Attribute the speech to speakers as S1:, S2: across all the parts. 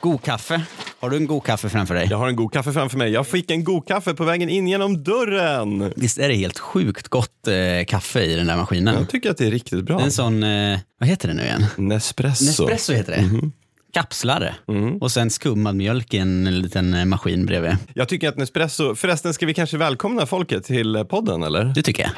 S1: God kaffe. Har du en god kaffe framför dig?
S2: Jag har en god kaffe framför mig. Jag fick en god kaffe på vägen in genom dörren.
S1: Visst är det helt sjukt gott eh, kaffe i den där maskinen?
S2: Jag tycker att det är riktigt bra.
S1: Det är en sån, eh, vad heter det nu igen?
S2: Nespresso.
S1: Nespresso heter det.
S2: Mm-hmm.
S1: Kapslare.
S2: Mm.
S1: Och sen skummad mjölk i en liten eh, maskin bredvid.
S2: Jag tycker att Nespresso... Förresten, ska vi kanske välkomna folket till podden, eller?
S1: Det tycker jag.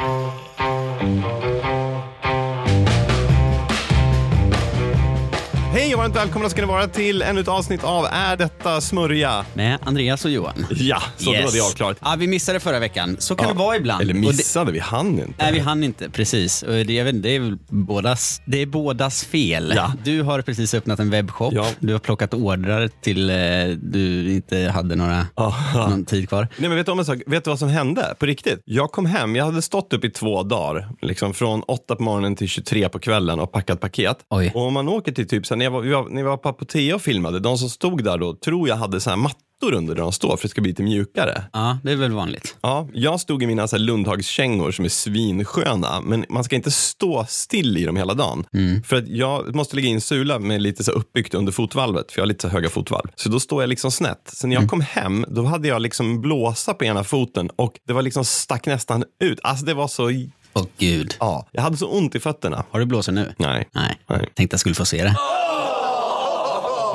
S2: Hej och varmt välkomna ska ni vara till ännu ett avsnitt av Är detta smörja?
S1: Med Andreas och Johan.
S2: Ja, så då var det avklarat.
S1: Ja, vi missade förra veckan. Så kan
S2: Ja.
S1: det vara ibland.
S2: Eller
S1: Och det-
S2: missade, vi hann inte.
S1: Nej, vi hann inte. Precis. Och det, jag vet, inte, det, är väl bådas, det är bådas fel.
S2: Ja.
S1: Du har precis öppnat en webbshop.
S2: Ja.
S1: Du har plockat ordrar till eh, du inte hade några,
S2: Aha.
S1: någon tid kvar.
S2: Nej, men vet du, om en sak? vet du vad som hände? På riktigt. Jag kom hem, jag hade stått upp i två dagar. Liksom från 8 på morgonen till 23 på kvällen och packat paket.
S1: Oj.
S2: Och om man åker till typ, så här, när, jag var, vi var, när jag var på Apotea och filmade, de som stod där då tror jag hade så här mattor under där de står för det ska bli lite mjukare.
S1: Ja, det är väl vanligt.
S2: Ja, jag stod i mina så här Lundhagskängor som är svinsköna, men man ska inte stå still i dem hela dagen.
S1: Mm.
S2: För att jag måste lägga in sula med lite så här uppbyggt under fotvalvet, för jag har lite så här höga fotvalv. Så då står jag liksom snett. Så
S1: Mm.
S2: när jag kom hem, då hade jag liksom en blåsa på ena foten och det var liksom stack nästan ut. Alltså det var så,
S1: Åh gud.
S2: ja, jag hade så ont i fötterna.
S1: Har du blåsor nu?
S2: Nej.
S1: Nej.
S2: Nej.
S1: Tänkte jag skulle få se det.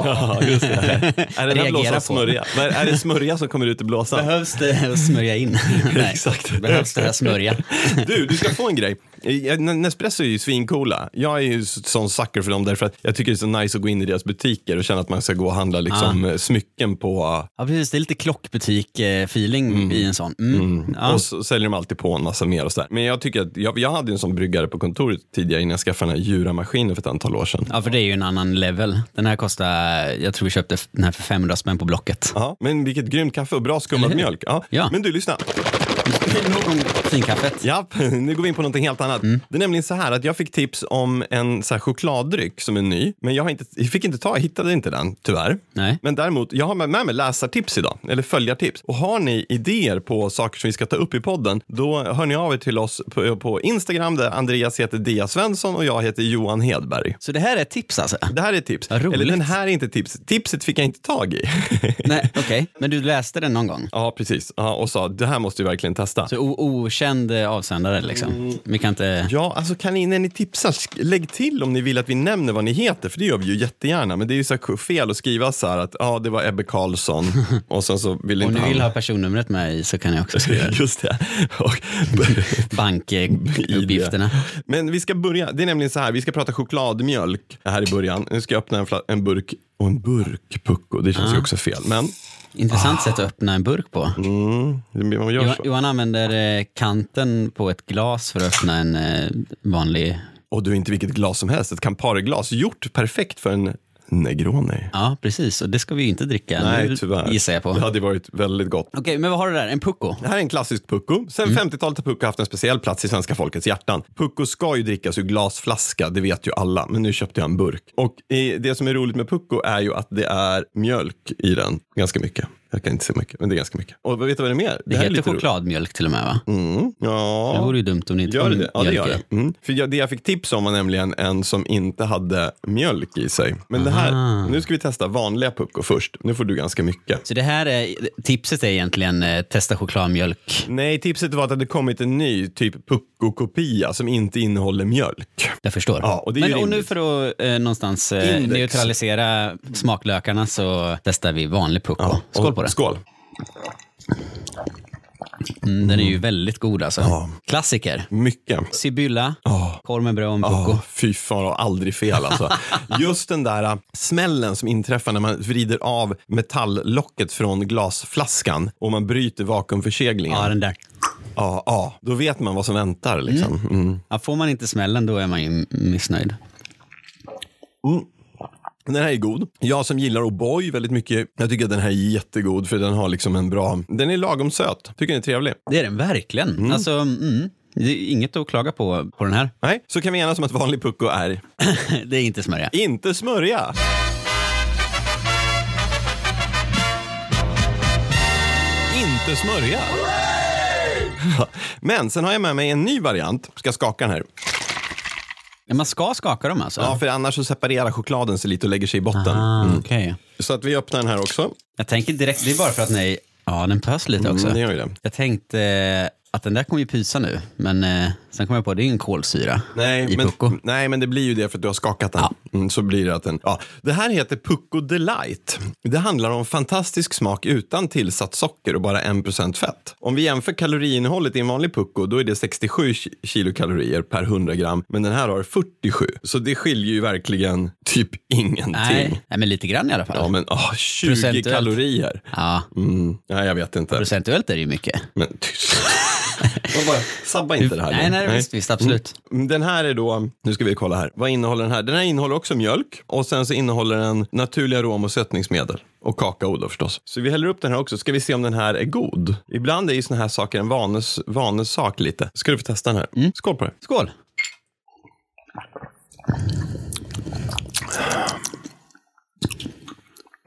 S2: Ja, just det. Är det
S1: Reagera
S2: där blåsan
S1: på.
S2: smörja? Nej, Är det smörja som kommer ut i blåsan?
S1: Behövs det att smörja in? Nej.
S2: Exakt.
S1: Behövs det att smörja?
S2: Du, du ska få en grej. Eh, N- Nespresso är ju svincoola. Jag är ju s- sån sucker för dem därför att jag tycker det är så nice att gå in i deras butiker och känna att man ska gå och handla
S1: Ah.
S2: liksom eh, smycken på...
S1: Ja, precis. Det är lite klockbutik-feeling i en sån. Mm. Ja.
S2: Och så säljer de alltid på en massa mer och sådär. Men jag tycker att, jag, jag hade ju en sån bryggare på kontoret tidigare innan jag skaffade den här Jura-maskinen för ett antal år sedan.
S1: ja, för det är ju en annan level. Den här kostar, jag tror vi köpte den här för 500 spänn på Blocket.
S2: Ja, men vilket grymt kaffe och bra skummad mjölk. Ja.
S1: Ja.
S2: Men du, lyssna.
S1: Nog om finkaffet.
S2: Ja, nu går vi in på någonting helt annat.
S1: Mm.
S2: Det är nämligen så här att jag fick tips om en så här chokladdryck som är ny, men jag, har inte, jag fick inte ta, jag hittade inte den tyvärr.
S1: Nej.
S2: Men däremot, jag har med med mig läsartips idag, eller följartips. Och har ni idéer på saker som vi ska ta upp i podden, då hör ni av er till oss på, på Instagram där Andreas heter Dia Svensson och jag heter Johan Hedberg.
S1: Så det här är ett tips alltså?
S2: Det här är ett tips.
S1: Vad roligt.
S2: Eller den här är inte tips. Tipset fick jag inte tag i.
S1: Nej, okej. Men du läste den någon gång?
S2: ja, precis. Ja, och sa, det här måste vi verkligen testa.
S1: Så o- okänd eh, avsändare liksom?
S2: Mm.
S1: Vi kan inte...
S2: Ja, alltså kan ni, när ni tipsar, sk- lägg till om ni vill att vi nämner vad ni heter, för det gör vi ju jättegärna. Men det är ju så här fel att skriva så här att ja, det var Ebbe Karlsson och sen så vill
S1: Om
S2: inte
S1: du
S2: han...
S1: vill ha personnumret med i så kan jag också skriva
S2: Just det. Och,
S1: bankuppgifterna.
S2: men vi ska börja, det är nämligen så här, vi ska prata chokladmjölk här i början. Nu ska jag öppna en, fla- en burk och en burk Pucko, det
S1: Ah.
S2: känns ju också fel. Men Ah.
S1: Intressant sätt att öppna en burk på.
S2: Mm. man gör
S1: Johan,
S2: så.
S1: Johan använder eh, kanten på ett glas för att öppna en eh, vanlig...
S2: Och du är inte vilket glas som helst, ett Campari-glas gjort perfekt för en Negroni.
S1: Ja, precis. Och det ska vi ju inte dricka nu,
S2: Nej, tyvärr.
S1: gissar jag på.
S2: Det
S1: Okej,
S2: hade varit väldigt gott.
S1: men vad har du där? En pucko?
S2: Det här är en klassisk pucko. Sen
S1: Mm.
S2: 50-talet har pucko haft en speciell plats i svenska folkets hjärtan. Pucko ska ju drickas ur glasflaska, det vet ju alla. Men nu köpte jag en burk. Och eh, det som är roligt med pucko är ju att det är mjölk i den. Ganska mycket. Jag kan inte se mycket, men det är ganska mycket. Och vet du vad det är mer?
S1: Det,
S2: här är
S1: heter
S2: lite roligt.
S1: chokladmjölk till och med, va?
S2: Mm.
S1: Det
S2: Ja.
S1: vore ju dumt om det inte
S2: Gör
S1: kom
S2: det det? Ja, det gör
S1: mjölk i.
S2: det. Mm. För jag, det jag fick tips om var nämligen en som inte hade mjölk i sig. Men det här, nu ska vi testa vanliga pucko först. Nu får du ganska mycket.
S1: Så det här är, tipset är egentligen eh, testa chokladmjölk.
S2: Nej, tipset var att det hade kommit en ny typ pucko-kopia som inte innehåller mjölk.
S1: Jag förstår.
S2: Ja, och det är ju
S1: Men, och nu
S2: rimligt.
S1: för att eh, någonstans eh,
S2: Index.
S1: neutralisera smaklökarna så testar vi vanlig pucko. Skål på det.
S2: Skål.
S1: Mm, den är ju väldigt god alltså. Klassiker.
S2: Mycket.
S1: Sibylla, korv med bröd och en pucko.
S2: Oh, fy fan, har aldrig fel alltså. Just den där äh, smällen som inträffar när man vrider av metalllocket från glasflaskan och man bryter vakuumförseglingen.
S1: Ja,
S2: Ja,
S1: den där.
S2: ja. Då vet man vad som väntar liksom. Mm.
S1: Ja, får man inte smällen då är man ju m- missnöjd.
S2: Den här är god. Jag som gillar O'boy väldigt mycket, jag tycker att den här är jättegod för den har liksom en bra, den är lagom söt. Tycker den är trevlig.
S1: Det är den verkligen. Alltså, mm, det är inget att klaga på på den här.
S2: Nej, så kan vi enas om att vanlig pucko är
S1: det är inte smörja.
S2: Inte smörja. Inte smörja. Men sen har jag med mig en ny variant. Ska skaka den här.
S1: Men man ska skaka dem alltså?
S2: Ja, för annars så separerar chokladen sig lite och lägger sig i botten.
S1: ah,
S2: Mm.
S1: okej.
S2: Så att vi öppnar den här också.
S1: Jag tänker direkt, det är bara för att ni... Ja, den pös lite också.
S2: Mm, det gör ju det.
S1: Jag tänkte eh, att den där kommer ju pysa nu, men eh, sen kom jag på att det är ingen kolsyra
S2: Nej
S1: i
S2: men,
S1: Pucko.
S2: nej, men det blir ju det för att du har skakat den. Mm, så blir det att den... Ja. Det här heter Pucko Delight. Det handlar om fantastisk smak utan tillsatt socker och bara 1% fett. Om vi jämför kaloriinnehållet i en vanlig Pucko, då är det 67 ki- kilokalorier per 100 gram. Men den här har 47. Så det skiljer ju verkligen typ ingenting.
S1: Nej, nej, men lite grann i alla fall.
S2: Ja,
S1: Ja,
S2: men åh, 20
S1: Procentuellt.
S2: kalorier. Mm, nej, jag vet inte.
S1: procentuellt är det ju mycket.
S2: Men tyst. Och bara, Sabba inte det här. nu.
S1: nej, nej, visst, visst, absolut.
S2: Mm, Den här är då, nu ska vi kolla här, vad innehåller den här? Den här innehåller också mjölk och sen så innehåller den naturliga arom och sötningsmedel och kakao då förstås. Så vi häller upp den här också, ska vi se om den här är god. Ibland är ju såna här saker en vanes, vanesak lite. Ska du få testa den här? Skål på det.
S1: Skål!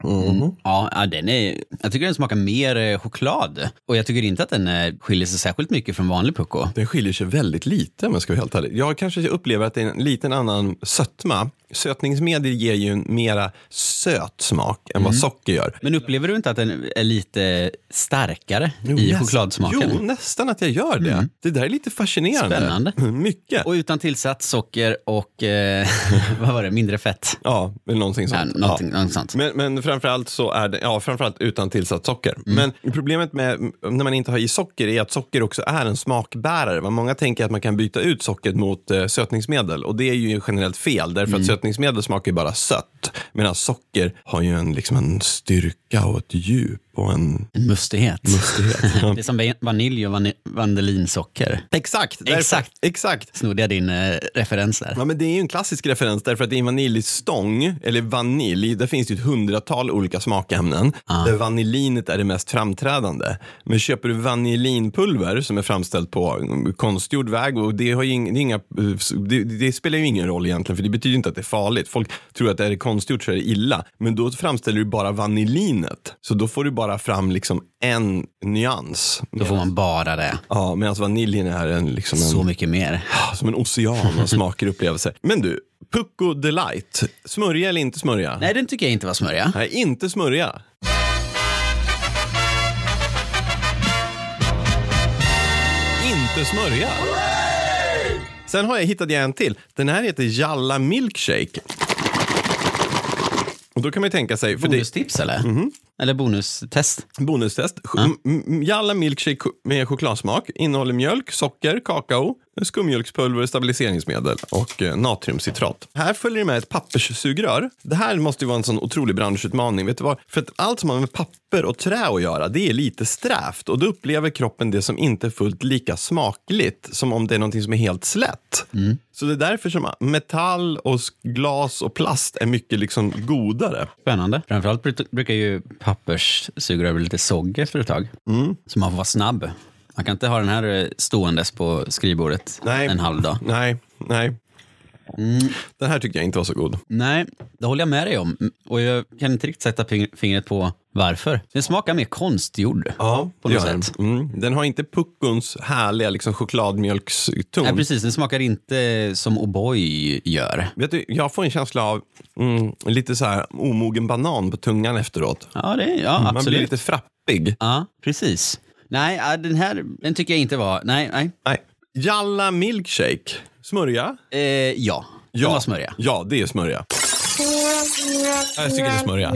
S2: Mm.
S1: Ja, ja, den är, jag tycker den smakar mer eh, choklad. Och jag tycker inte att den eh, skiljer sig särskilt mycket från vanlig Pucko.
S2: Den skiljer sig väldigt lite om jag ska vara helt ärlig. Jag kanske upplever att det är en liten annan sötma. Sötningsmedel ger ju en mera söt smak än vad socker gör.
S1: Men upplever du inte att den är lite starkare i
S2: näst-
S1: chokladsmaken?
S2: Jo, nästan att jag gör det. Det där är lite fascinerande. Mm,
S1: Spännande.
S2: Mycket.
S1: Och utan tillsatt socker och eh, vad var det, mindre fett.
S2: Ja, eller någonting
S1: Ja,
S2: sånt.
S1: någonting,
S2: Ja.
S1: någonting sånt.
S2: Men, men framförallt så är det, ja, framförallt utan tillsatt socker.
S1: Mm.
S2: Men problemet med när man inte har i socker är att socker också är en smakbärare. Vad många tänker att man kan byta ut sockret mot eh, sötningsmedel och det är ju generellt fel därför
S1: Mm.
S2: att sötningsmedel smakar ju bara sött. Medan socker har ju en, liksom en styrka och ett djup och en
S1: En mustighet.
S2: mustighet. Ja.
S1: Det är som va- vanilj och vani- vandelinsocker.
S2: exakt, därför,
S1: Exakt.
S2: exakt.
S1: Snodde jag din eh, referens där?
S2: Ja, men det är ju en klassisk referens därför att i en vaniljstång, eller vanilj, där finns det ju ett hundratal olika smakämnen. Där vanillinet är det mest framträdande. Men köper du vanillinpulver som är framställt på mm, konstgjord väg och det, har ju ing, det, är inga, det, det spelar ju ingen roll egentligen för det betyder ju inte att det är farligt. Folk tror att är det konstgjort så är det illa. Men då framställer du bara vanillinet. Så då får du bara fram liksom en nyans.
S1: Då får man bara det.
S2: Ja, medan vaniljen är en, liksom en
S1: Så mycket mer.
S2: Ah, Som en ocean av smaker och upplevelser. Men du, Pucko Delight. Smörja eller inte smörja?
S1: Nej, den tycker jag inte var smörja.
S2: Nej, inte smörja. Inte smörja. Sen har jag hittat jag en till. Den här heter Jalla Milkshake. Och då kan man ju tänka sig, för det, Mhm.
S1: Bonustips eller? Eller bonustest?
S2: Bonustest. Ch- m- m- Jalla milkshake ko- med chokladsmak. Innehåller mjölk, socker, kakao, skummjölkspulver, stabiliseringsmedel och eh, natriumcitrat. Här följer det med ett papperssugrör. Det här måste ju vara en sån otrolig branschutmaning. Vet du vad? För att allt som har med papper och trä att göra, det är lite strävt och då upplever kroppen det som inte är fullt lika smakligt som om det är någonting som är helt slätt. Så det är därför som metall och s- glas och plast är mycket liksom godare.
S1: Spännande. Framförallt brut- brukar ju papperssugrör bli lite sogg efter ett tag.
S2: Mm.
S1: Så man får vara snabb. Man kan inte ha den här eh, ståendes på skrivbordet
S2: Nej.
S1: en halv dag.
S2: Nej, nej.
S1: Mm.
S2: Den här tyckte jag inte var så god.
S1: Nej, det håller jag med dig om. Mm, Och jag kan inte riktigt sätta fing- fingret på varför. Den smakar mer konstgjord.
S2: Ja,
S1: på något sätt.
S2: Den. Mm. den har inte puckons härliga liksom, chokladmjölkston.
S1: Nej, precis. Den smakar inte som O'boy gör.
S2: Vet du, jag får en känsla av mm, lite så här omogen banan på tungan efteråt.
S1: Ja, det, ja
S2: Man blir
S1: absolut.
S2: lite frappig.
S1: Ja, precis. Nej, ja, den här den tycker jag inte var... Nej, nej.
S2: Nej. Jalla milkshake. Smörja?
S1: Eh, ja, den var smörja.
S2: Ja, det är smörja. Jag tycker det är smörja.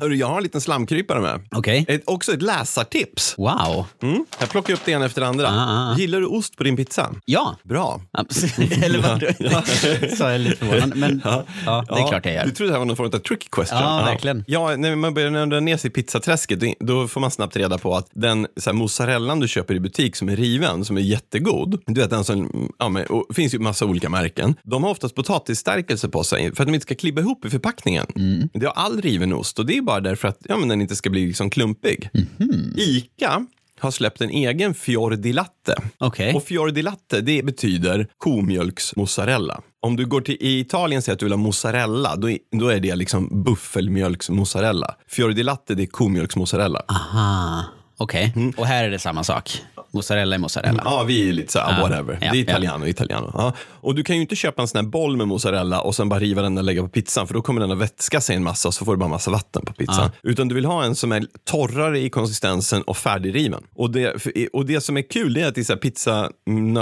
S2: Hörru, jag har en liten slamkrypare med.
S1: Okej.
S2: Ett, också ett läsartips.
S1: Wow.
S2: Mm. Jag plockar upp det ena efter det andra.
S1: Ah, ah.
S2: Gillar du ost på din pizza?
S1: Ja.
S2: Bra.
S1: Absolut. Eller vad? Sa jag lite förvånande. Men ja, det är
S2: Ja,
S1: klart jag
S2: Du
S1: gör.
S2: trodde det här var någon form av trick question.
S1: Ja, verkligen.
S2: Ja, när man börjar nörda ner sig i pizzaträsket, då- då får man snabbt reda på att den så här, mozzarellan du köper i butik som är riven, som är jättegod, du vet den som, ja men, och, det finns ju massa olika märken, de har oftast potatisstärkelse på sig för att de inte ska klibba ihop i förpackningen.
S1: Mm.
S2: Det har all riven ost och det är bara därför att ja, men den inte ska bli liksom klumpig.
S1: Mhm.
S2: Ica har släppt en egen Fiordi latte.
S1: Okej.
S2: Och fiordi latte, det betyder komjölksmozzarella. Om du går till i Italien och säger att du vill ha mozzarella, då är, då är det liksom buffelmjölksmozzarella. Fiordi latte, det är komjölksmozzarella. Mm.
S1: Aha. Okej. Och här är det samma sak. Mozzarella är mozzarella.
S2: Ja, vi är lite så här,
S1: Ja.
S2: whatever.
S1: Ah. Ja, ja.
S2: det är italiano, italiano. Ja. Och du kan ju inte köpa en sån här boll med mozzarella och sen bara riva den och lägga på pizzan, för då kommer den att vätska sig en massa och så får du bara massa vatten på
S1: Ah.
S2: pizzan. Utan du vill ha en som är torrare i konsistensen och färdigriven. Och det, och det som är kul det är att det är så här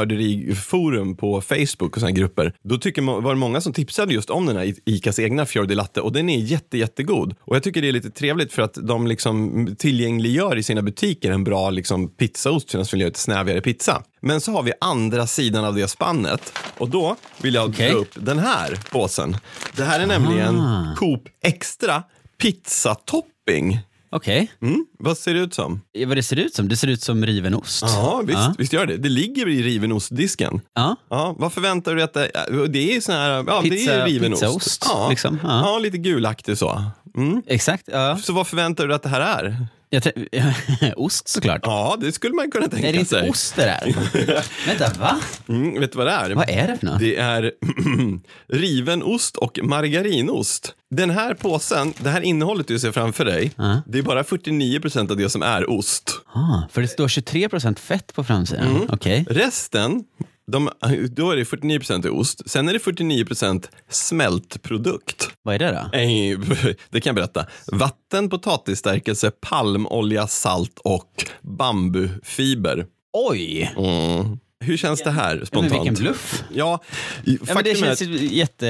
S2: pizzanörderiforum på Facebook och såna här grupper, då tycker man, var det många som tipsade just om den här Icas egna Fior di Latte och den är jätte, jättegod. Och jag tycker det är lite trevligt för att de liksom tillgängliggör i sina butiker en bra liksom pizzaost för den som vill göra lite snävigare pizza. Men så har vi andra sidan av det spannet och då vill jag
S1: Okej.
S2: dra upp den här påsen. Det här är nämligen Coop Extra pizzatopping.
S1: Okej,
S2: Mm, vad ser det ut som?
S1: vad det ser ut som? Det ser ut som riven ost.
S2: Ja, visst, visst gör det. Det ligger i riven ostdisken.
S1: Ja.
S2: Ja, vad förväntar du dig att det ja, det är? Sån här, ja, det
S1: Pizza-
S2: är riven
S1: pizzaost,
S2: ost. Ja.
S1: liksom. Ja.
S2: Ja. lite gulaktig så. Mm.
S1: Exakt, ja.
S2: Så vad förväntar du dig att det här är?
S1: Jag trä- ost såklart.
S2: Ja, det skulle man kunna tänka
S1: Är det inte
S2: sig.
S1: ost det där? Vänta, va?
S2: Mm, vet du vad det är?
S1: Vad är det för något?
S2: Det är riven ost och margarinost. Den här påsen, det här innehållet du ser framför dig, det är bara 49% av det som är ost.
S1: Ah, för det står 23 fett på framsidan. Okej.
S2: Resten, de, då är det 49% är ost. Sen är det 49% smältprodukt.
S1: Vad är det då?
S2: Nej, det kan jag berätta. Vatten, potatisstärkelse, palmolja, salt och bambufiber.
S1: Oj!
S2: Mm. Hur känns det här
S1: Men
S2: spontant?
S1: vilken bluff.
S2: Ja, i-
S1: Ja, men det
S2: faktum är
S1: känns
S2: att
S1: ju jätte...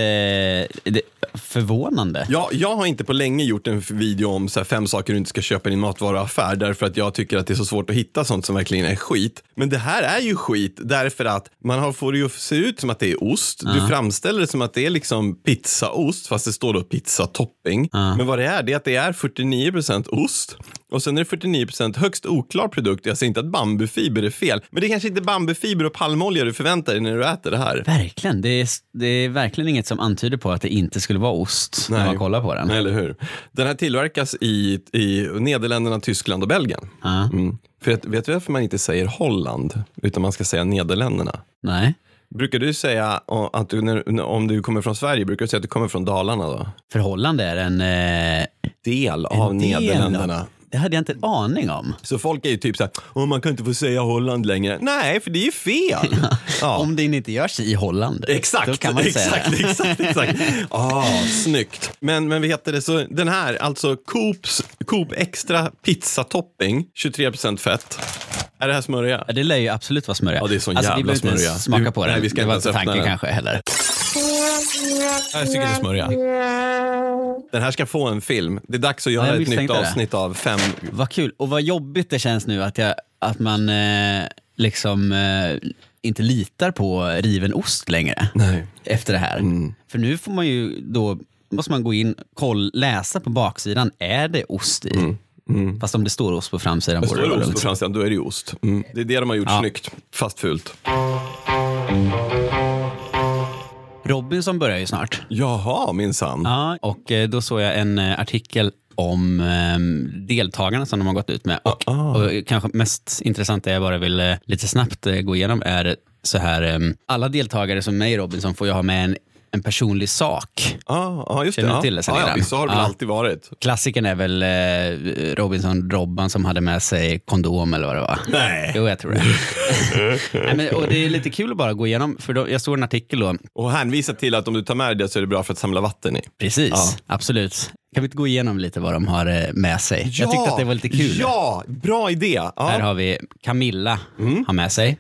S1: Det, förvånande.
S2: Ja, jag har inte på länge gjort en video om så här fem saker du inte ska köpa i din matvaruaffär därför att jag tycker att det är så svårt att hitta sånt som verkligen är skit. Men det här är ju skit därför att man har, får det ju se ut som att det är ost. Du framställer det som att det är liksom pizzaost fast det står då pizzatopping. Men vad det är, det är att det är 49% ost och sen är det 49% högst oklar produkt. Jag säger inte att bambufiber är fel, men det är kanske inte bambufiber och palmolja du förväntar dig när du äter det här.
S1: Verkligen. Det är, det är verkligen inget som antyder på att det inte skulle vara ost när
S2: Nej.
S1: man kollar på den.
S2: Eller hur? Den här tillverkas i, i Nederländerna, Tyskland och Belgien.
S1: Ja.
S2: Mm. För att, vet du varför man inte säger Holland, utan man ska säga Nederländerna?
S1: Nej.
S2: Brukar du säga, å, att du, när, om du kommer från Sverige, brukar du säga att du kommer från Dalarna då?
S1: Förhållande är en... Eh,
S2: Del av
S1: en del
S2: Nederländerna.
S1: av- Det hade jag inte en aning om.
S2: Så folk är ju typ så här, "Åh, man kan inte få säga Holland längre. Nej, för det är ju fel. Ja.
S1: Om det inte görs i Holland.
S2: Exakt,
S1: Då kan man
S2: exakt,
S1: säga det.
S2: exakt, exakt. Ah, snyggt. Men, men vad heter det, så den här, alltså Coops, Coop Extra pizzatopping, 23% fett. Är det här smörja?
S1: Ja, Det lär ju absolut vara smörja.
S2: Ja, det är sån
S1: alltså, vi
S2: jävla
S1: behöver inte
S2: smörja.
S1: ens smaka
S2: Du-
S1: på det.
S2: nej, vi ska
S1: det
S2: inte
S1: var
S2: ens
S1: inte
S2: öppna
S1: tanken
S2: den.
S1: kanske heller.
S2: Jag tycker det är smörja. Den här ska få en film. Det är dags att
S1: Ja,
S2: göra
S1: jag
S2: ett nytt
S1: misstänkte det.
S2: avsnitt av fem.
S1: Vad kul. Och vad jobbigt det känns nu att, jag, att man eh, liksom eh, inte litar på riven ost längre.
S2: Nej. Mm.
S1: efter det här. För nu får man ju då måste man gå in, koll, läsa på baksidan, är det ost i? Fast om det står ost på framsidan
S2: Står
S1: borde det
S2: Mm. det
S1: vara
S2: ost på
S1: lugnt.
S2: framsidan, då är det ju ost. Mm. Det är det de har gjort
S1: Ja.
S2: snyggt, fast fult.
S1: Robinson börjar ju snart.
S2: Jaha, minsann.
S1: Ja, och eh, då såg jag en eh, artikel om eh, deltagarna som de har gått ut med. Och,
S2: Ah.
S1: och eh, kanske mest intressant, det jag bara vill eh, lite snabbt eh, gå igenom, är så här, eh, alla deltagare som är med i Robinson får ju ha med en, en personlig sak.
S2: Ja, ja, Ah, just det.
S1: Känner du
S2: Ja.
S1: till det sen
S2: ja, ja,
S1: innan?
S2: visst, så har det väl
S1: Ja.
S2: alltid varit.
S1: Klassikern är väl eh, Robinson-Robban som hade med sig kondom eller vad det var.
S2: Nej.
S1: Jo, jag tror det. Nej, men, och det är lite kul att bara gå igenom, för då, jag såg en artikel då.
S2: Och hänvisa till att om du tar med det så är det bra för att samla vatten i.
S1: Precis,
S2: Ja.
S1: absolut. Kan vi inte gå igenom lite vad de har eh, med sig? jag tyckte att det var lite kul.
S2: Ja, bra idé. Ja. Mm.
S1: Här har vi Camilla har med sig.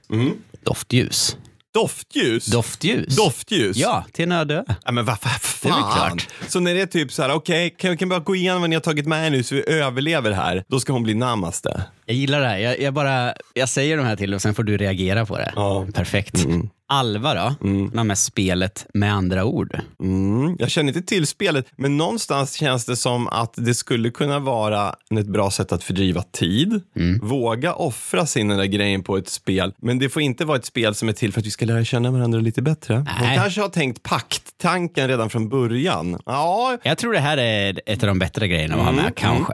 S1: Doftljus.
S2: Doftljus.
S1: Doftljus?
S2: Doftljus.
S1: Ja, till en öde ö.
S2: Ja, men vad fa-
S1: är
S2: fan.
S1: väl klart.
S2: Så när det är typ så här, okej, kan vi kan vi bara gå igenom vad ni har tagit med er nu så vi överlever här. Då ska hon bli namaste.
S1: Jag gillar det här. Jag, jag, bara, jag säger de här till och sen får du reagera på det.
S2: Ja. Mm.
S1: Perfekt. Alva då? Hon har med spelet med andra ord.
S2: Mm. Jag känner inte till spelet, men någonstans känns det som att det skulle kunna vara ett bra sätt att fördriva tid.
S1: Mm.
S2: Våga offra sin den där grejen på ett spel, men det får inte vara ett spel som är till för att vi ska lära känna varandra lite bättre.
S1: Nej.
S2: De kanske har tänkt pakttanken redan från början. Ja,
S1: Jag tror det här är ett av de bättre grejerna att ha
S2: Mm.
S1: med, kanske.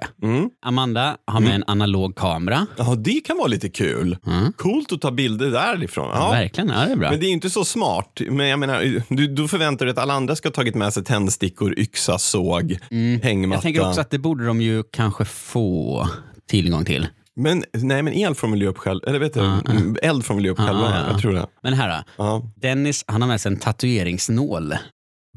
S1: Amanda har med en analog kamera.
S2: Ja, det kan vara lite kul. Coolt att ta bilder därifrån. Ja.
S1: Verkligen, Mm. ja, det är bra.
S2: Men det är ju inte så smart. Men jag menar, du, då förväntar du dig att alla andra ska ha tagit med sig tändstickor, yxa,
S1: Mm.
S2: såg, hängmatta.
S1: Jag tänker också att det borde de ju kanske få tillgång till.
S2: Men, nej, men el från miljöuppskäll, eller vet du, mm, eld från miljöuppskäll,
S1: Ah, ah, ah.
S2: jag tror det.
S1: Men här då.
S2: Ja.
S1: Dennis, han har med sig en tatueringsnål.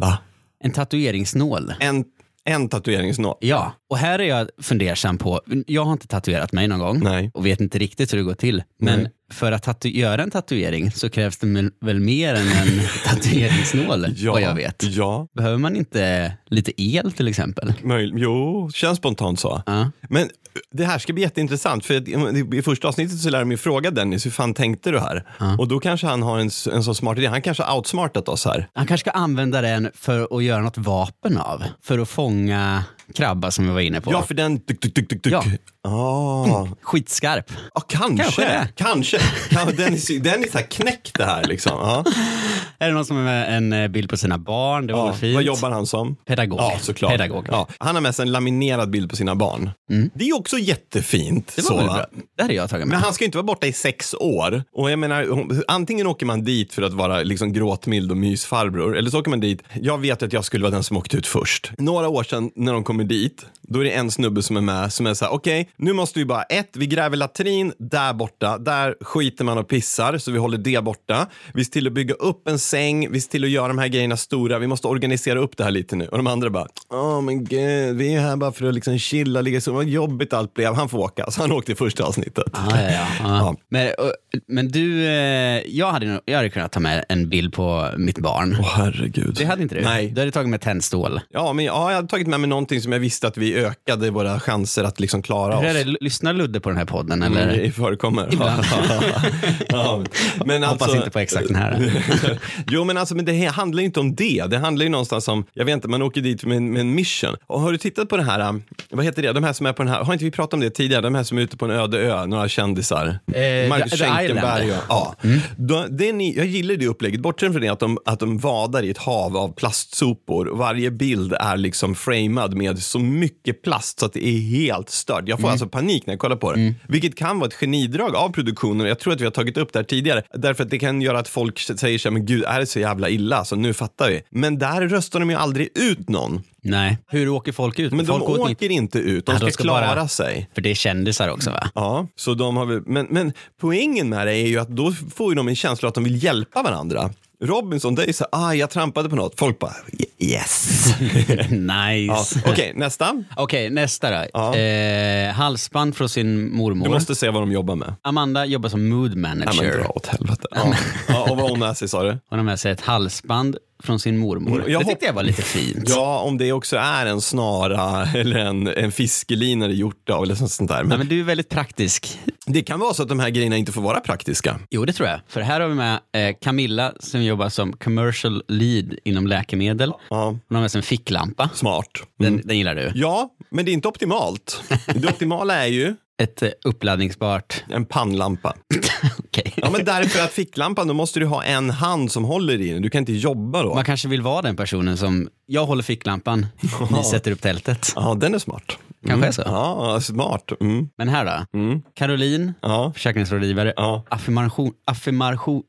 S2: Va?
S1: En tatueringsnål.
S2: En, en tatueringsnål.
S1: Ja, och här är jag fundersam på, jag har inte tatuerat mig någon gång
S2: Nej.
S1: och vet inte riktigt hur det går till. Men
S2: Nej.
S1: för att tatu- göra en tatuering så krävs det väl- väl mer än en tatueringsnål, vad jag vet.
S2: Ja,
S1: Behöver man inte lite el till exempel?
S2: möj, jo, känns spontant så.
S1: Ja.
S2: Men eh, det här ska bli jätteintressant, för att eh, i första avsnittet så lär de ju fråga Dennis, hur fan tänkte du här? Och då kanske han har en, s- en så smart idé, han kanske har outsmartat oss här.
S1: Han kanske ska använda den för att göra något vapen av. För att fånga krabba som vi var inne på.
S2: Ja, för den... Duk, duk, duk, duk, duk.
S1: Ja.
S2: Ah.
S1: Skitskarp.
S2: Ja, kanske.
S1: Kanske det.
S2: Kanske. Kan, Dennis, Dennis har knäckt det här liksom. Ja.
S1: Är det någon som är med en eh, bild på sina barn? Det var
S2: Ja.
S1: väl fint?
S2: Vad jobbar han som?
S1: Pedagog.
S2: Ja, såklart.
S1: Pedagog. Mm.
S2: Ja. Han har med sig en laminerad bild på sina barn. Det är också jättefint.
S1: Det var
S2: så,
S1: väl
S2: va?
S1: bra. Det hade jag tagit
S2: Men
S1: med.
S2: han ska ju inte vara borta i sex år. Och jag menar, hon- antingen åker man dit för att vara liksom gråtmild och mysfarbror, eller så åker man dit, jag vet att jag skulle vara den som åkte ut först. Några år sedan när de kommer dit, då är det en snubbe som är med som är så här, okej, nu måste vi bara, ett, vi gräver latrin där borta, där skiter man och pissar, så vi håller det borta. Vi ser till att bygga upp en säng, vi ser till att göra de här grejerna stora, vi måste organisera upp det här lite nu. Och de andra bara, åh men gud, vi är här bara för att liksom chilla, ligga så, vad jobbigt allt blev, han får åka. Så han åkte i första avsnittet.
S1: Ja, ja, ja.
S2: Ja.
S1: Ja. Men, och- men du, eh, jag hade, nog- jag hade kunnat ta med en bild på mitt barn.
S2: Åh herregud.
S1: Det hade inte du.
S2: Nej.
S1: Du hade tagit med tändstål.
S2: Ja, men ja, jag hade tagit med mig någonting som jag visste att vi ökade våra chanser att liksom klara
S1: Hur är
S2: oss.
S1: det, L- lyssnar Ludde på den här podden? Eller?
S2: Men det förekommer.
S1: Ibland.
S2: ja. men
S1: Hoppas
S2: alltså-
S1: inte på exakt den här.
S2: jo, men alltså, men det handlar ju inte om det. Det handlar ju någonstans om, jag vet inte, man åker dit med, en- med en mission. Och har du tittat på det här, um, vad heter det, de här som är på den här, har inte vi pratat om det tidigare, de här som är ute på en öde ö, några kändisar.
S1: Eh,
S2: Marcus
S1: The- The
S2: Schenkenberg och,
S1: Island. Mm.
S2: ja. Då, det är ni, jag gillar det upplägget, bortsett från det att de, att de vadar i ett hav av plastsopor. Varje bild är liksom framad med så mycket plast så att det är helt stört.
S1: Mm.
S2: Jag får alltså panik när jag kollar på det. Vilket kan vara ett genidrag av produktionen och jag tror att vi har tagit upp det här tidigare. Därför att det kan göra att folk säger så här, men gud är det så jävla illa? Så nu fattar vi. Men där röstar de ju aldrig ut någon.
S1: Nej. Hur åker folk ut?
S2: Men
S1: folk
S2: de
S1: åker
S2: åker inte ut, de
S1: Nej,
S2: ska,
S1: de ska bara-
S2: klara sig.
S1: För det är kändisar också va?
S2: Ja, så de har väl, men, men poängen med det är ju att då får ju de en känsla att de vill hjälpa varandra. Robinson, det är ju så här, ah, jag trampade på något. Folk bara, "Ye- yes. Ja.
S1: nice.
S2: Okej, nästa.
S1: Okej, nästa då.
S2: Ja.
S1: Eh, halsband från sin mormor.
S2: Du måste se vad de jobbar med.
S1: Amanda jobbar som mood
S2: Nej, men
S1: manager.
S2: dra åt helvete. Ja. Ja, och vad hon med sig sa du?
S1: Hon har med sig ett halsband från sin mormor.
S2: Mm, jag
S1: det
S2: hop-
S1: tyckte jag var lite fint.
S2: Ja, om det också är en snara eller en, en fiskelina det är gjort av eller sånt, sånt där.
S1: Nej,
S2: Men
S1: men du är väldigt praktisk.
S2: det kan vara så att de här grejerna inte får vara praktiska.
S1: Jo, det tror jag. För här har vi med eh, Camilla som jobbar som commercial lead inom läkemedel.
S2: Ja,
S1: Hon har med sig en ficklampa.
S2: smart.
S1: Den, den gillar du.
S2: Ja, men det är inte optimalt. Det optimala är ju
S1: Ett eh, uppladdningsbart...
S2: en pannlampa.
S1: Okej.
S2: Ja, men därför att ficklampan, då måste du ha en hand som håller i den. Du kan inte jobba då.
S1: Man kanske vill vara den personen som, jag håller ficklampan, ni sätter upp tältet.
S2: Ja, den är smart.
S1: Kanske är så.
S2: Ja, smart. Mm.
S1: Men här då? Caroline,
S2: Ja.
S1: försäkringsrådgivare,
S2: Ja.
S1: affirmation, affirmation,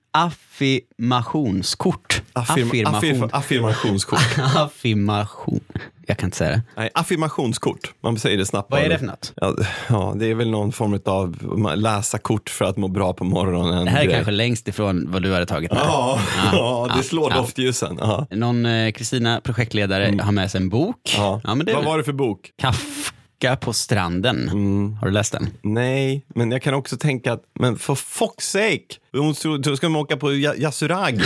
S1: affirmationskort.
S2: Affirm- affirm-
S1: affirmation.
S2: affirmationskort.
S1: affirmation. Jag kan inte säga det.
S2: Nej, affirmationskort. Man säger det snabbt.
S1: Vad är
S2: bara.
S1: det för något?
S2: Ja, ja, det är väl någon form av läsa kort för att må bra på morgonen.
S1: Det här är
S2: grej.
S1: kanske längst ifrån vad du hade tagit med.
S2: Ja, ja, det slår doftljusen. Ja.
S1: Någon eh, Kristina, projektledare, har med sig en bok.
S2: Mm. Ja.
S1: men det är väl
S2: Vad var Mm. det för bok?
S1: Kafka på stranden. Har du läst den?
S2: Nej, men jag kan också tänka att, men för fuck's sake, hon tror- tror- ska de åka på Ja- Yasuragi?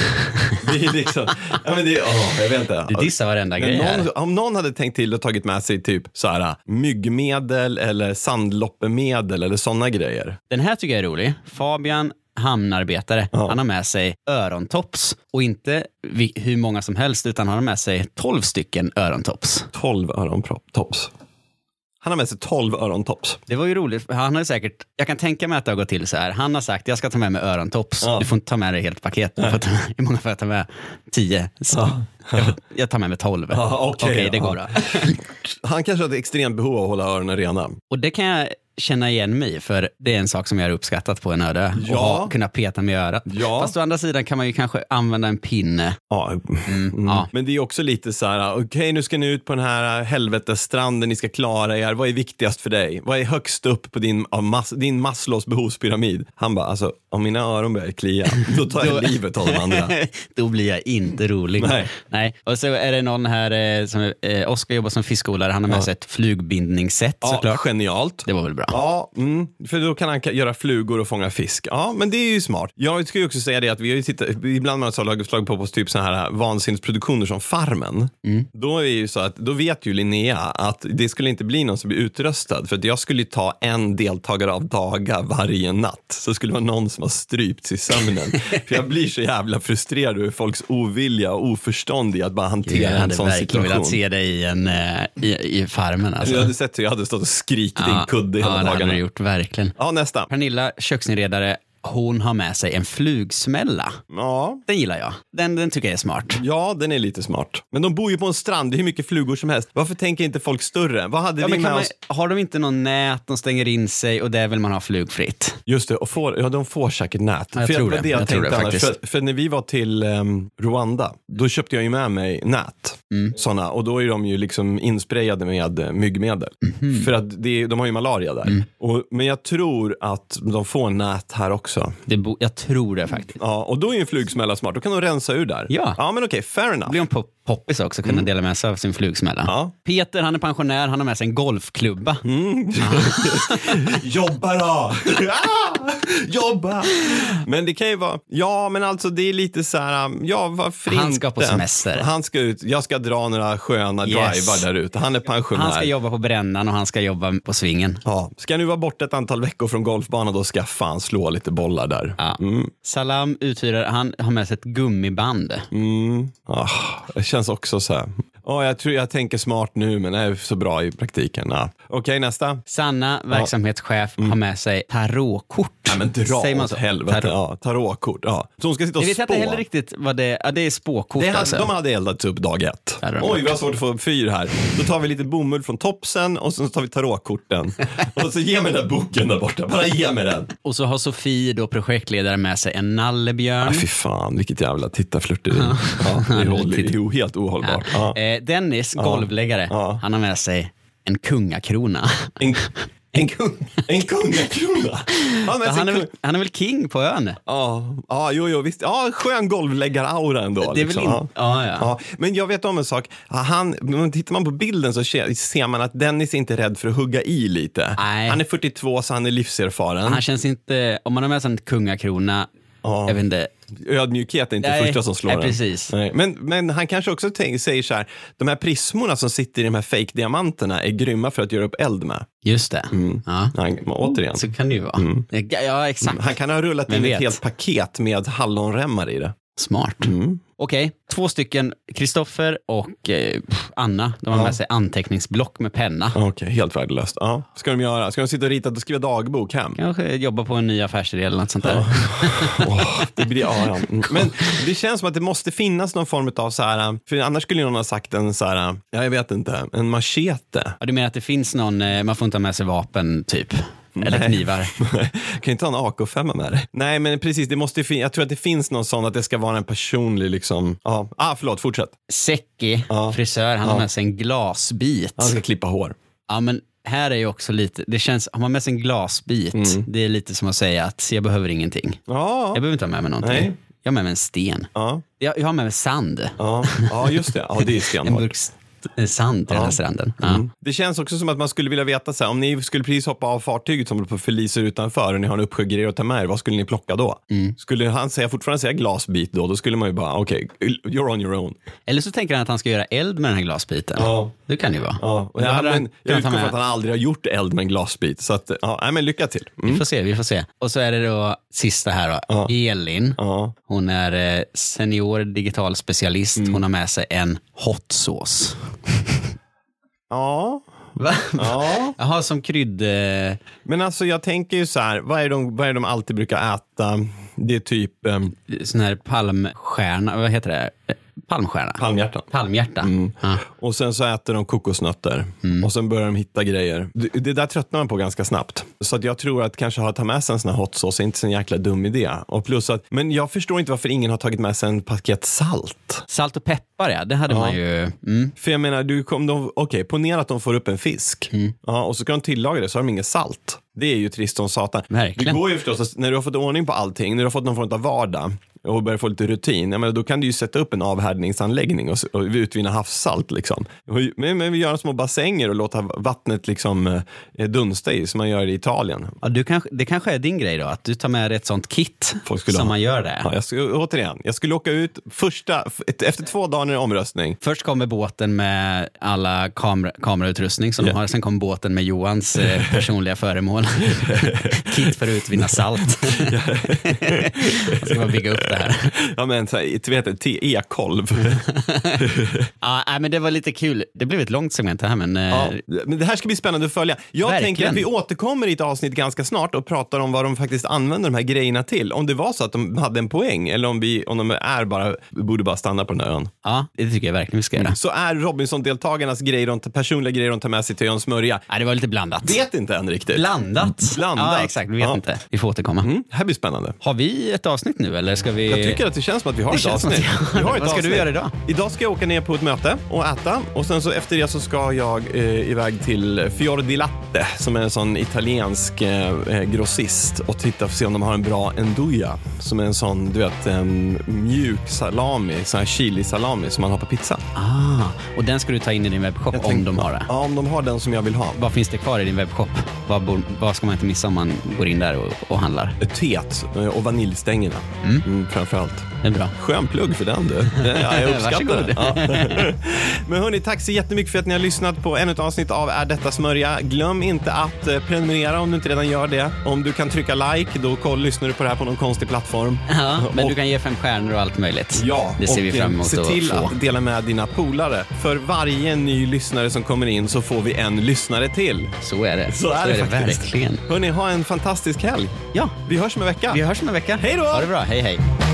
S2: Det är liksom, ja men det, åh, jag vet inte.
S1: Du dissar varenda grej
S2: Men
S1: här.
S2: någon, om någon hade tänkt till och tagit med sig typ så här, myggmedel eller sandloppemedel eller sådana grejer.
S1: Den här tycker jag är rolig. Fabian hamnarbetare. Han har med sig örontops och inte vi, hur många som helst utan han har med sig 12 stycken örontops.
S2: 12 örontops. Han har med sig 12 örontops.
S1: Det var ju roligt. för Han har ju säkert, jag kan tänka mig att det har gått till så här. Han har sagt jag ska ta med mig örontops.
S2: Ja.
S1: Du får inte ta med dig helt paket. Du får ta, I många fall tar jag med 10. Så jag, jag tar med mig 12.
S2: Ja, okej,
S1: det
S2: ja.
S1: går bra.
S2: Han kanske hade extremt behov av att hålla öronen rena.
S1: Och det kan jag känna igen mig, för det är en sak som jag har uppskattat på en öde.
S2: Ja.
S1: Och ha, kunna peta mig i örat.
S2: Ja.
S1: Fast å andra sidan kan man ju kanske använda en pinne.
S2: Ja. Mm.
S1: ja.
S2: Men det är också lite så här, äh, okej nu ska ni ut på den här helvetesstranden, ni ska klara er, vad är viktigast för dig? Vad är högst upp på din, av mas, din Maslows behovspyramid? Han bara, alltså om mina öron börjar klia, då tar jag
S1: Då-
S2: livet av de andra.
S1: Då blir jag inte rolig.
S2: Nej.
S1: Och så är det någon här, eh, som, eh, Oskar jobbar som fiskodlare, han har med sig ett flugbindningssätt
S2: Ja,
S1: såklart.
S2: genialt.
S1: Det var väl bra.
S2: Ja, mm, för då kan han ka- göra flugor och fånga fisk. Ja, men det är ju smart. Jag skulle ju också säga det att vi har ju tittat, ibland har man slagit på oss typ sådana här vansinnesproduktioner som Farmen.
S1: Mm.
S2: Då är det ju så att, då vet ju Linnea att det skulle inte bli någon som blir utröstad för att jag skulle ju ta en deltagare av daga varje natt. Så skulle det vara någon som har strypts i sömnen. för jag blir så jävla frustrerad över folks ovilja och oförstånd i att bara hantera
S1: Jag
S2: en
S1: hade
S2: sån
S1: verkligen
S2: situation.
S1: velat se dig i, en, eh, i, i farmen. Alltså.
S2: Jag hade sett hur jag hade stått och skrikit i
S1: Ja,
S2: en kudde
S1: ja,
S2: hela
S1: det hade
S2: dagarna.
S1: du gjort, verkligen.
S2: Ja, nästa.
S1: Pernilla, köksinredare, hon har med sig en flugsmälla.
S2: Ja,
S1: Den gillar jag. Den, den tycker jag är smart.
S2: Ja, den är lite smart. Men de bor ju på en strand, det är hur mycket flugor som helst. Varför tänker inte folk större? Vad hade
S1: Ja,
S2: vi
S1: men
S2: med
S1: kan man,
S2: oss?
S1: har de inte någon nät, de stänger in sig och där vill man ha flugfritt?
S2: Just det, och får, ja, de får säkert nät.
S1: jag
S2: för
S1: tror
S2: var
S1: det.
S2: det jag,
S1: Jag tror
S2: tänkte
S1: det
S2: annars.
S1: faktiskt.
S2: För, för när vi var till ehm, Rwanda, då köpte jag ju med mig nät. Mm. Sådana. Och då är de ju liksom insprayade med eh, myggmedel.
S1: Mhm.
S2: För att det, är- de har ju malaria där.
S1: Mm.
S2: Och, men jag tror att de får nät här också.
S1: Det bo, jag tror det faktiskt.
S2: Ja, och då är ju en flugsmälla smart. Då kan de rensa ur där.
S1: Ja.
S2: ja men okej, fair enough.
S1: Blir hon pop- poppis också, kunna dela med sig av sin flugsmälla.
S2: Ja.
S1: Peter, han är pensionär, han har med sig en golfklubba.
S2: Jobba då! Ah! Jobba! Men det kan ju vara, ja men alltså det är lite så här, um, ja varför inte?
S1: Han ska på semester.
S2: Han ska ut, jag ska dra några sköna
S1: Yes.
S2: drivar där ute. Han är pensionär.
S1: Han ska jobba på brännan och han ska jobba på svingen.
S2: ja. ska nu vara borta ett antal veckor från golfbanan då ska fan slå lite bollar där.
S1: Ja. Salam uthyrar, han har med sig ett gummiband.
S2: Mm. Ah, det känns också så här. Ja, jag tror jag tänker smart nu men är så bra i praktiken. Ja. Okej nästa.
S1: Sanna, verksamhetschef, har med sig tarotkort.
S2: Nej, men dra
S1: Säger man
S2: åt
S1: så?
S2: helvete.
S1: Tarot.
S2: Ja, tarotkort. Ja. Så hon ska sitta och
S1: Jag vet
S2: spå.
S1: inte heller riktigt vad det är. Ja, det är spåkort
S2: Det hade,
S1: alltså.
S2: De hade eldat upp dag ett.
S1: hade de
S2: Oj, vi har svårt att få upp fyr här. Då tar vi lite bomull från topsen och sen tar vi tarotkorten. och så ge mig den där boken där borta. Bara ge mig den.
S1: Och så har Sofie, då projektledare, med sig en nallebjörn.
S2: Ah, Fy fan, vilket jävla tittarflörteri. ja, det, är håll- det är ju helt ohållbart. Ja.
S1: Eh, Dennis, golvläggare,
S2: Ja.
S1: han har med sig en kungakrona.
S2: En,
S1: En kung.
S2: en kungakrona. Ja, men
S1: Han är,
S2: sen,
S1: väl, han är väl king på ön?
S2: ja, ja, jo, jo, visst. Ja, skön golvläggaraura ändå.
S1: Det är väl
S2: liksom.
S1: in... ja.
S2: ja.
S1: Ja,
S2: Ja, men jag vet om en sak. Ja, Han, men tittar man på bilden så ke- ser man att Dennis är inte rädd för att hugga i lite.
S1: Nej.
S2: Han är 42 så han är livserfaren.
S1: Han känns inte, om man har med sig en kungakrona,
S2: Ja.
S1: jag vet inte.
S2: Ödmjukhet är inte
S1: Nej,
S2: det första som slår
S1: nej,
S2: en.
S1: precis.
S2: Nej. Men, men han kanske också tänk, säger så här, de här prismorna som sitter i de här fake-diamanterna är grymma för att göra upp eld med.
S1: Just det.
S2: Mm.
S1: Ja.
S2: Han, men återigen,
S1: Så kan det ju vara.
S2: Mm.
S1: Ja, exakt.
S2: han kan ha rullat
S1: Vem
S2: in
S1: vet?
S2: ett helt paket med hallonremmar i det.
S1: Smart.
S2: Mm.
S1: Okej, två stycken, Kristoffer och eh, pff, Anna, de har med sig anteckningsblock med penna.
S2: Okej, helt värdelöst. Ja. Ska de göra? Ska de sitta och rita och skriva dagbok hem?
S1: Kanske jobba på en ny affärsidé eller något sånt där.
S2: Åh, det blir, ja, ja. Mm. Men det känns som att det måste finnas någon form av så här, för annars skulle ju någon ha sagt en så här, ja, jag vet inte, en machete.
S1: Ja, du menar att det finns någon, eh, man får inte ha med sig vapen typ? Eller knivar?
S2: kan ju inte ha en AK5 med dig. Nej, men precis. Det måste ju fin- jag tror att det finns någon sån att det ska vara en personlig liksom. Ja, ah, förlåt. Fortsätt.
S1: Säcki,
S2: Ja. Alltså.
S1: frisör, han har med sig en glasbit.
S2: Han ska klippa hår.
S1: Ja, men här är ju också lite, det känns, har man med sig en glasbit,
S2: Mm.
S1: det är lite som att säga att jag behöver ingenting.
S2: Ja,
S1: Jag behöver inte ha med mig någonting.
S2: Nej.
S1: Jag har med mig en sten.
S2: ja,
S1: Jag, jag har med mig sand.
S2: ja, ja, just det. Ja, det är
S1: En
S2: stenhårt.
S1: burk st- eh, sand till den här stranden. Ja.
S2: Det känns också som att man skulle vilja veta så här, om ni skulle precis hoppa av fartyget som håller på att förliser utanför och ni har en uppsjö grejer att ta med er, vad skulle ni plocka då?
S1: Mm.
S2: Skulle han säga, fortfarande säga glasbit då, då skulle man ju bara, okej, you're on your own.
S1: Eller så tänker han att han ska göra eld med den här glasbiten.
S2: Ja.
S1: Det kan det ju vara.
S2: Ja,
S1: Då hade han
S2: men jag
S1: kunnat ta
S2: utgår
S1: med-
S2: från att han aldrig har gjort eld med en glasbit, så att, ja, nej, men lycka till. Mm.
S1: Vi får se, vi får se. Och så är det då sista här då. Elin,
S2: Ja. Mm.
S1: hon är eh, senior digital specialist. Hon har med sig en hot sauce.
S2: Ja.
S1: Va?
S2: Ja.
S1: Jaha, som krydd... eh,
S2: Men alltså jag tänker ju så här, vad är de, vad är de alltid brukar äta? Det är typ ehm,
S1: Sån här palmstjärna, vad heter det? Eh, Palmstjärna?
S2: palmhjärtan.
S1: Palmhjärta.
S2: Mm.
S1: Ja.
S2: Och sen så äter de kokosnötter. Och sen börjar de hitta grejer. Det, det där tröttnar man på ganska snabbt. Så att jag tror att kanske ha ta med sig en sån här hot sauce är inte så en jäkla dum idé. Och plus att, men jag förstår inte varför ingen har tagit med sig en paket salt.
S1: Salt och peppar ja, det hade man ju. Mm.
S2: För jag menar, du kom, de, okej, ponera att de får upp en fisk. Ja, och så ska de tillaga det, så har de inget salt. Det är ju trist som satan.
S1: Verkligen.
S2: Det går ju förstås, att när du har fått ordning på allting, när du har fått någon form av vardag och börjar få lite rutin, jag menar, då kan du ju sätta upp en avhärdningsanläggning och, s- och utvinna havssalt. Liksom. Och ju- Men, men vi gör små bassänger och låta vattnet liksom, eh, dunsta i, som man gör i Italien.
S1: Ja, du kanske, det kanske är din grej då, att du tar med dig ett sånt kit
S2: Folk skulle
S1: som
S2: ha-
S1: man gör det.
S2: Ja, jag skulle, återigen, jag skulle åka ut första, f- ett- efter två dagar när det är omröstning.
S1: Först kommer båten med alla kamer kamerautrustning som de har, sen kommer båten med Johans eh, personliga föremål. Kit för att utvinna salt. Och så ska man bygga upp det här.
S2: Ja, men, så här, du vet, ett te- e-kolv.
S1: Ja, nej, men det var lite kul. Det blev ett långt segment det här, men eh,
S2: Ja, men det här ska bli spännande att följa. Jag
S1: Verkligen.
S2: tänker att vi återkommer i ett avsnitt ganska snart och pratar om vad de faktiskt använder de här grejerna till. Om det var så att de hade en poäng eller om, vi, om de är bara, vi borde bara stanna på den här ön.
S1: ja, det tycker jag verkligen vi ska göra.
S2: Så är Robinson-deltagarnas grejer, de, personliga grejer de tar med sig till ön smörja.
S1: Ja, det var lite blandat.
S2: Vet inte än riktigt.
S1: Blandat.
S2: Blandat.
S1: Ja, exakt. Vi vet
S2: Ja.
S1: inte. Vi får återkomma.
S2: Mm, det här blir spännande.
S1: Har vi ett avsnitt nu eller ska vi?
S2: Jag tycker att det känns som att vi har
S1: Eh, Det
S2: ett
S1: känns som att
S2: avsnitt.
S1: vi har
S2: Vi har
S1: det.
S2: ett
S1: Vad ska du
S2: avsnitt.
S1: göra idag?
S2: Idag ska jag åka ner på ett möte och äta och sen så efter det så ska jag eh, iväg till Fior di Latte som är en sån italiensk eh, eh, grossist och titta för att se om de har en bra enduja som är en sån, du vet, en mjuk salami, sån här chili-salami som man har på pizza.
S1: Ah, och den ska du ta in i din webbshop om
S2: tänkte-
S1: de har det.
S2: Ja, om de har den som jag vill ha.
S1: Vad finns det kvar i din webbshop? Vad, bor, vad ska man inte missa om man går in där och, och handlar?
S2: Teet eh, och vaniljstängerna mm. framförallt.
S1: Det är bra.
S2: Skön plugg för den du. Ja, jag uppskattar
S1: Varsågod.
S2: det. Ja. Men hörni, tack så jättemycket för att ni har lyssnat på ännu ett avsnitt av Är detta smörja? Glöm inte att eh, prenumerera om du inte redan gör det. Om du kan trycka like, då koll, lyssnar du på det här på någon konstig plattform.
S1: Ja, men
S2: Och-
S1: du kan ge fem stjärnor och allt möjligt.
S2: Ja,
S1: det ser
S2: och eh,
S1: vi fram emot
S2: se
S1: att
S2: till
S1: få.
S2: att dela med dina polare. För varje ny lyssnare som kommer in så får vi en lyssnare till.
S1: Så är det.
S2: Så är det, faktiskt.
S1: verkligen.
S2: Hörni, ha en fantastisk helg.
S1: Ja,
S2: Vi hörs om en vecka.
S1: vi hörs om en vecka.
S2: Hej då!
S1: Ha det bra. Hej, hej.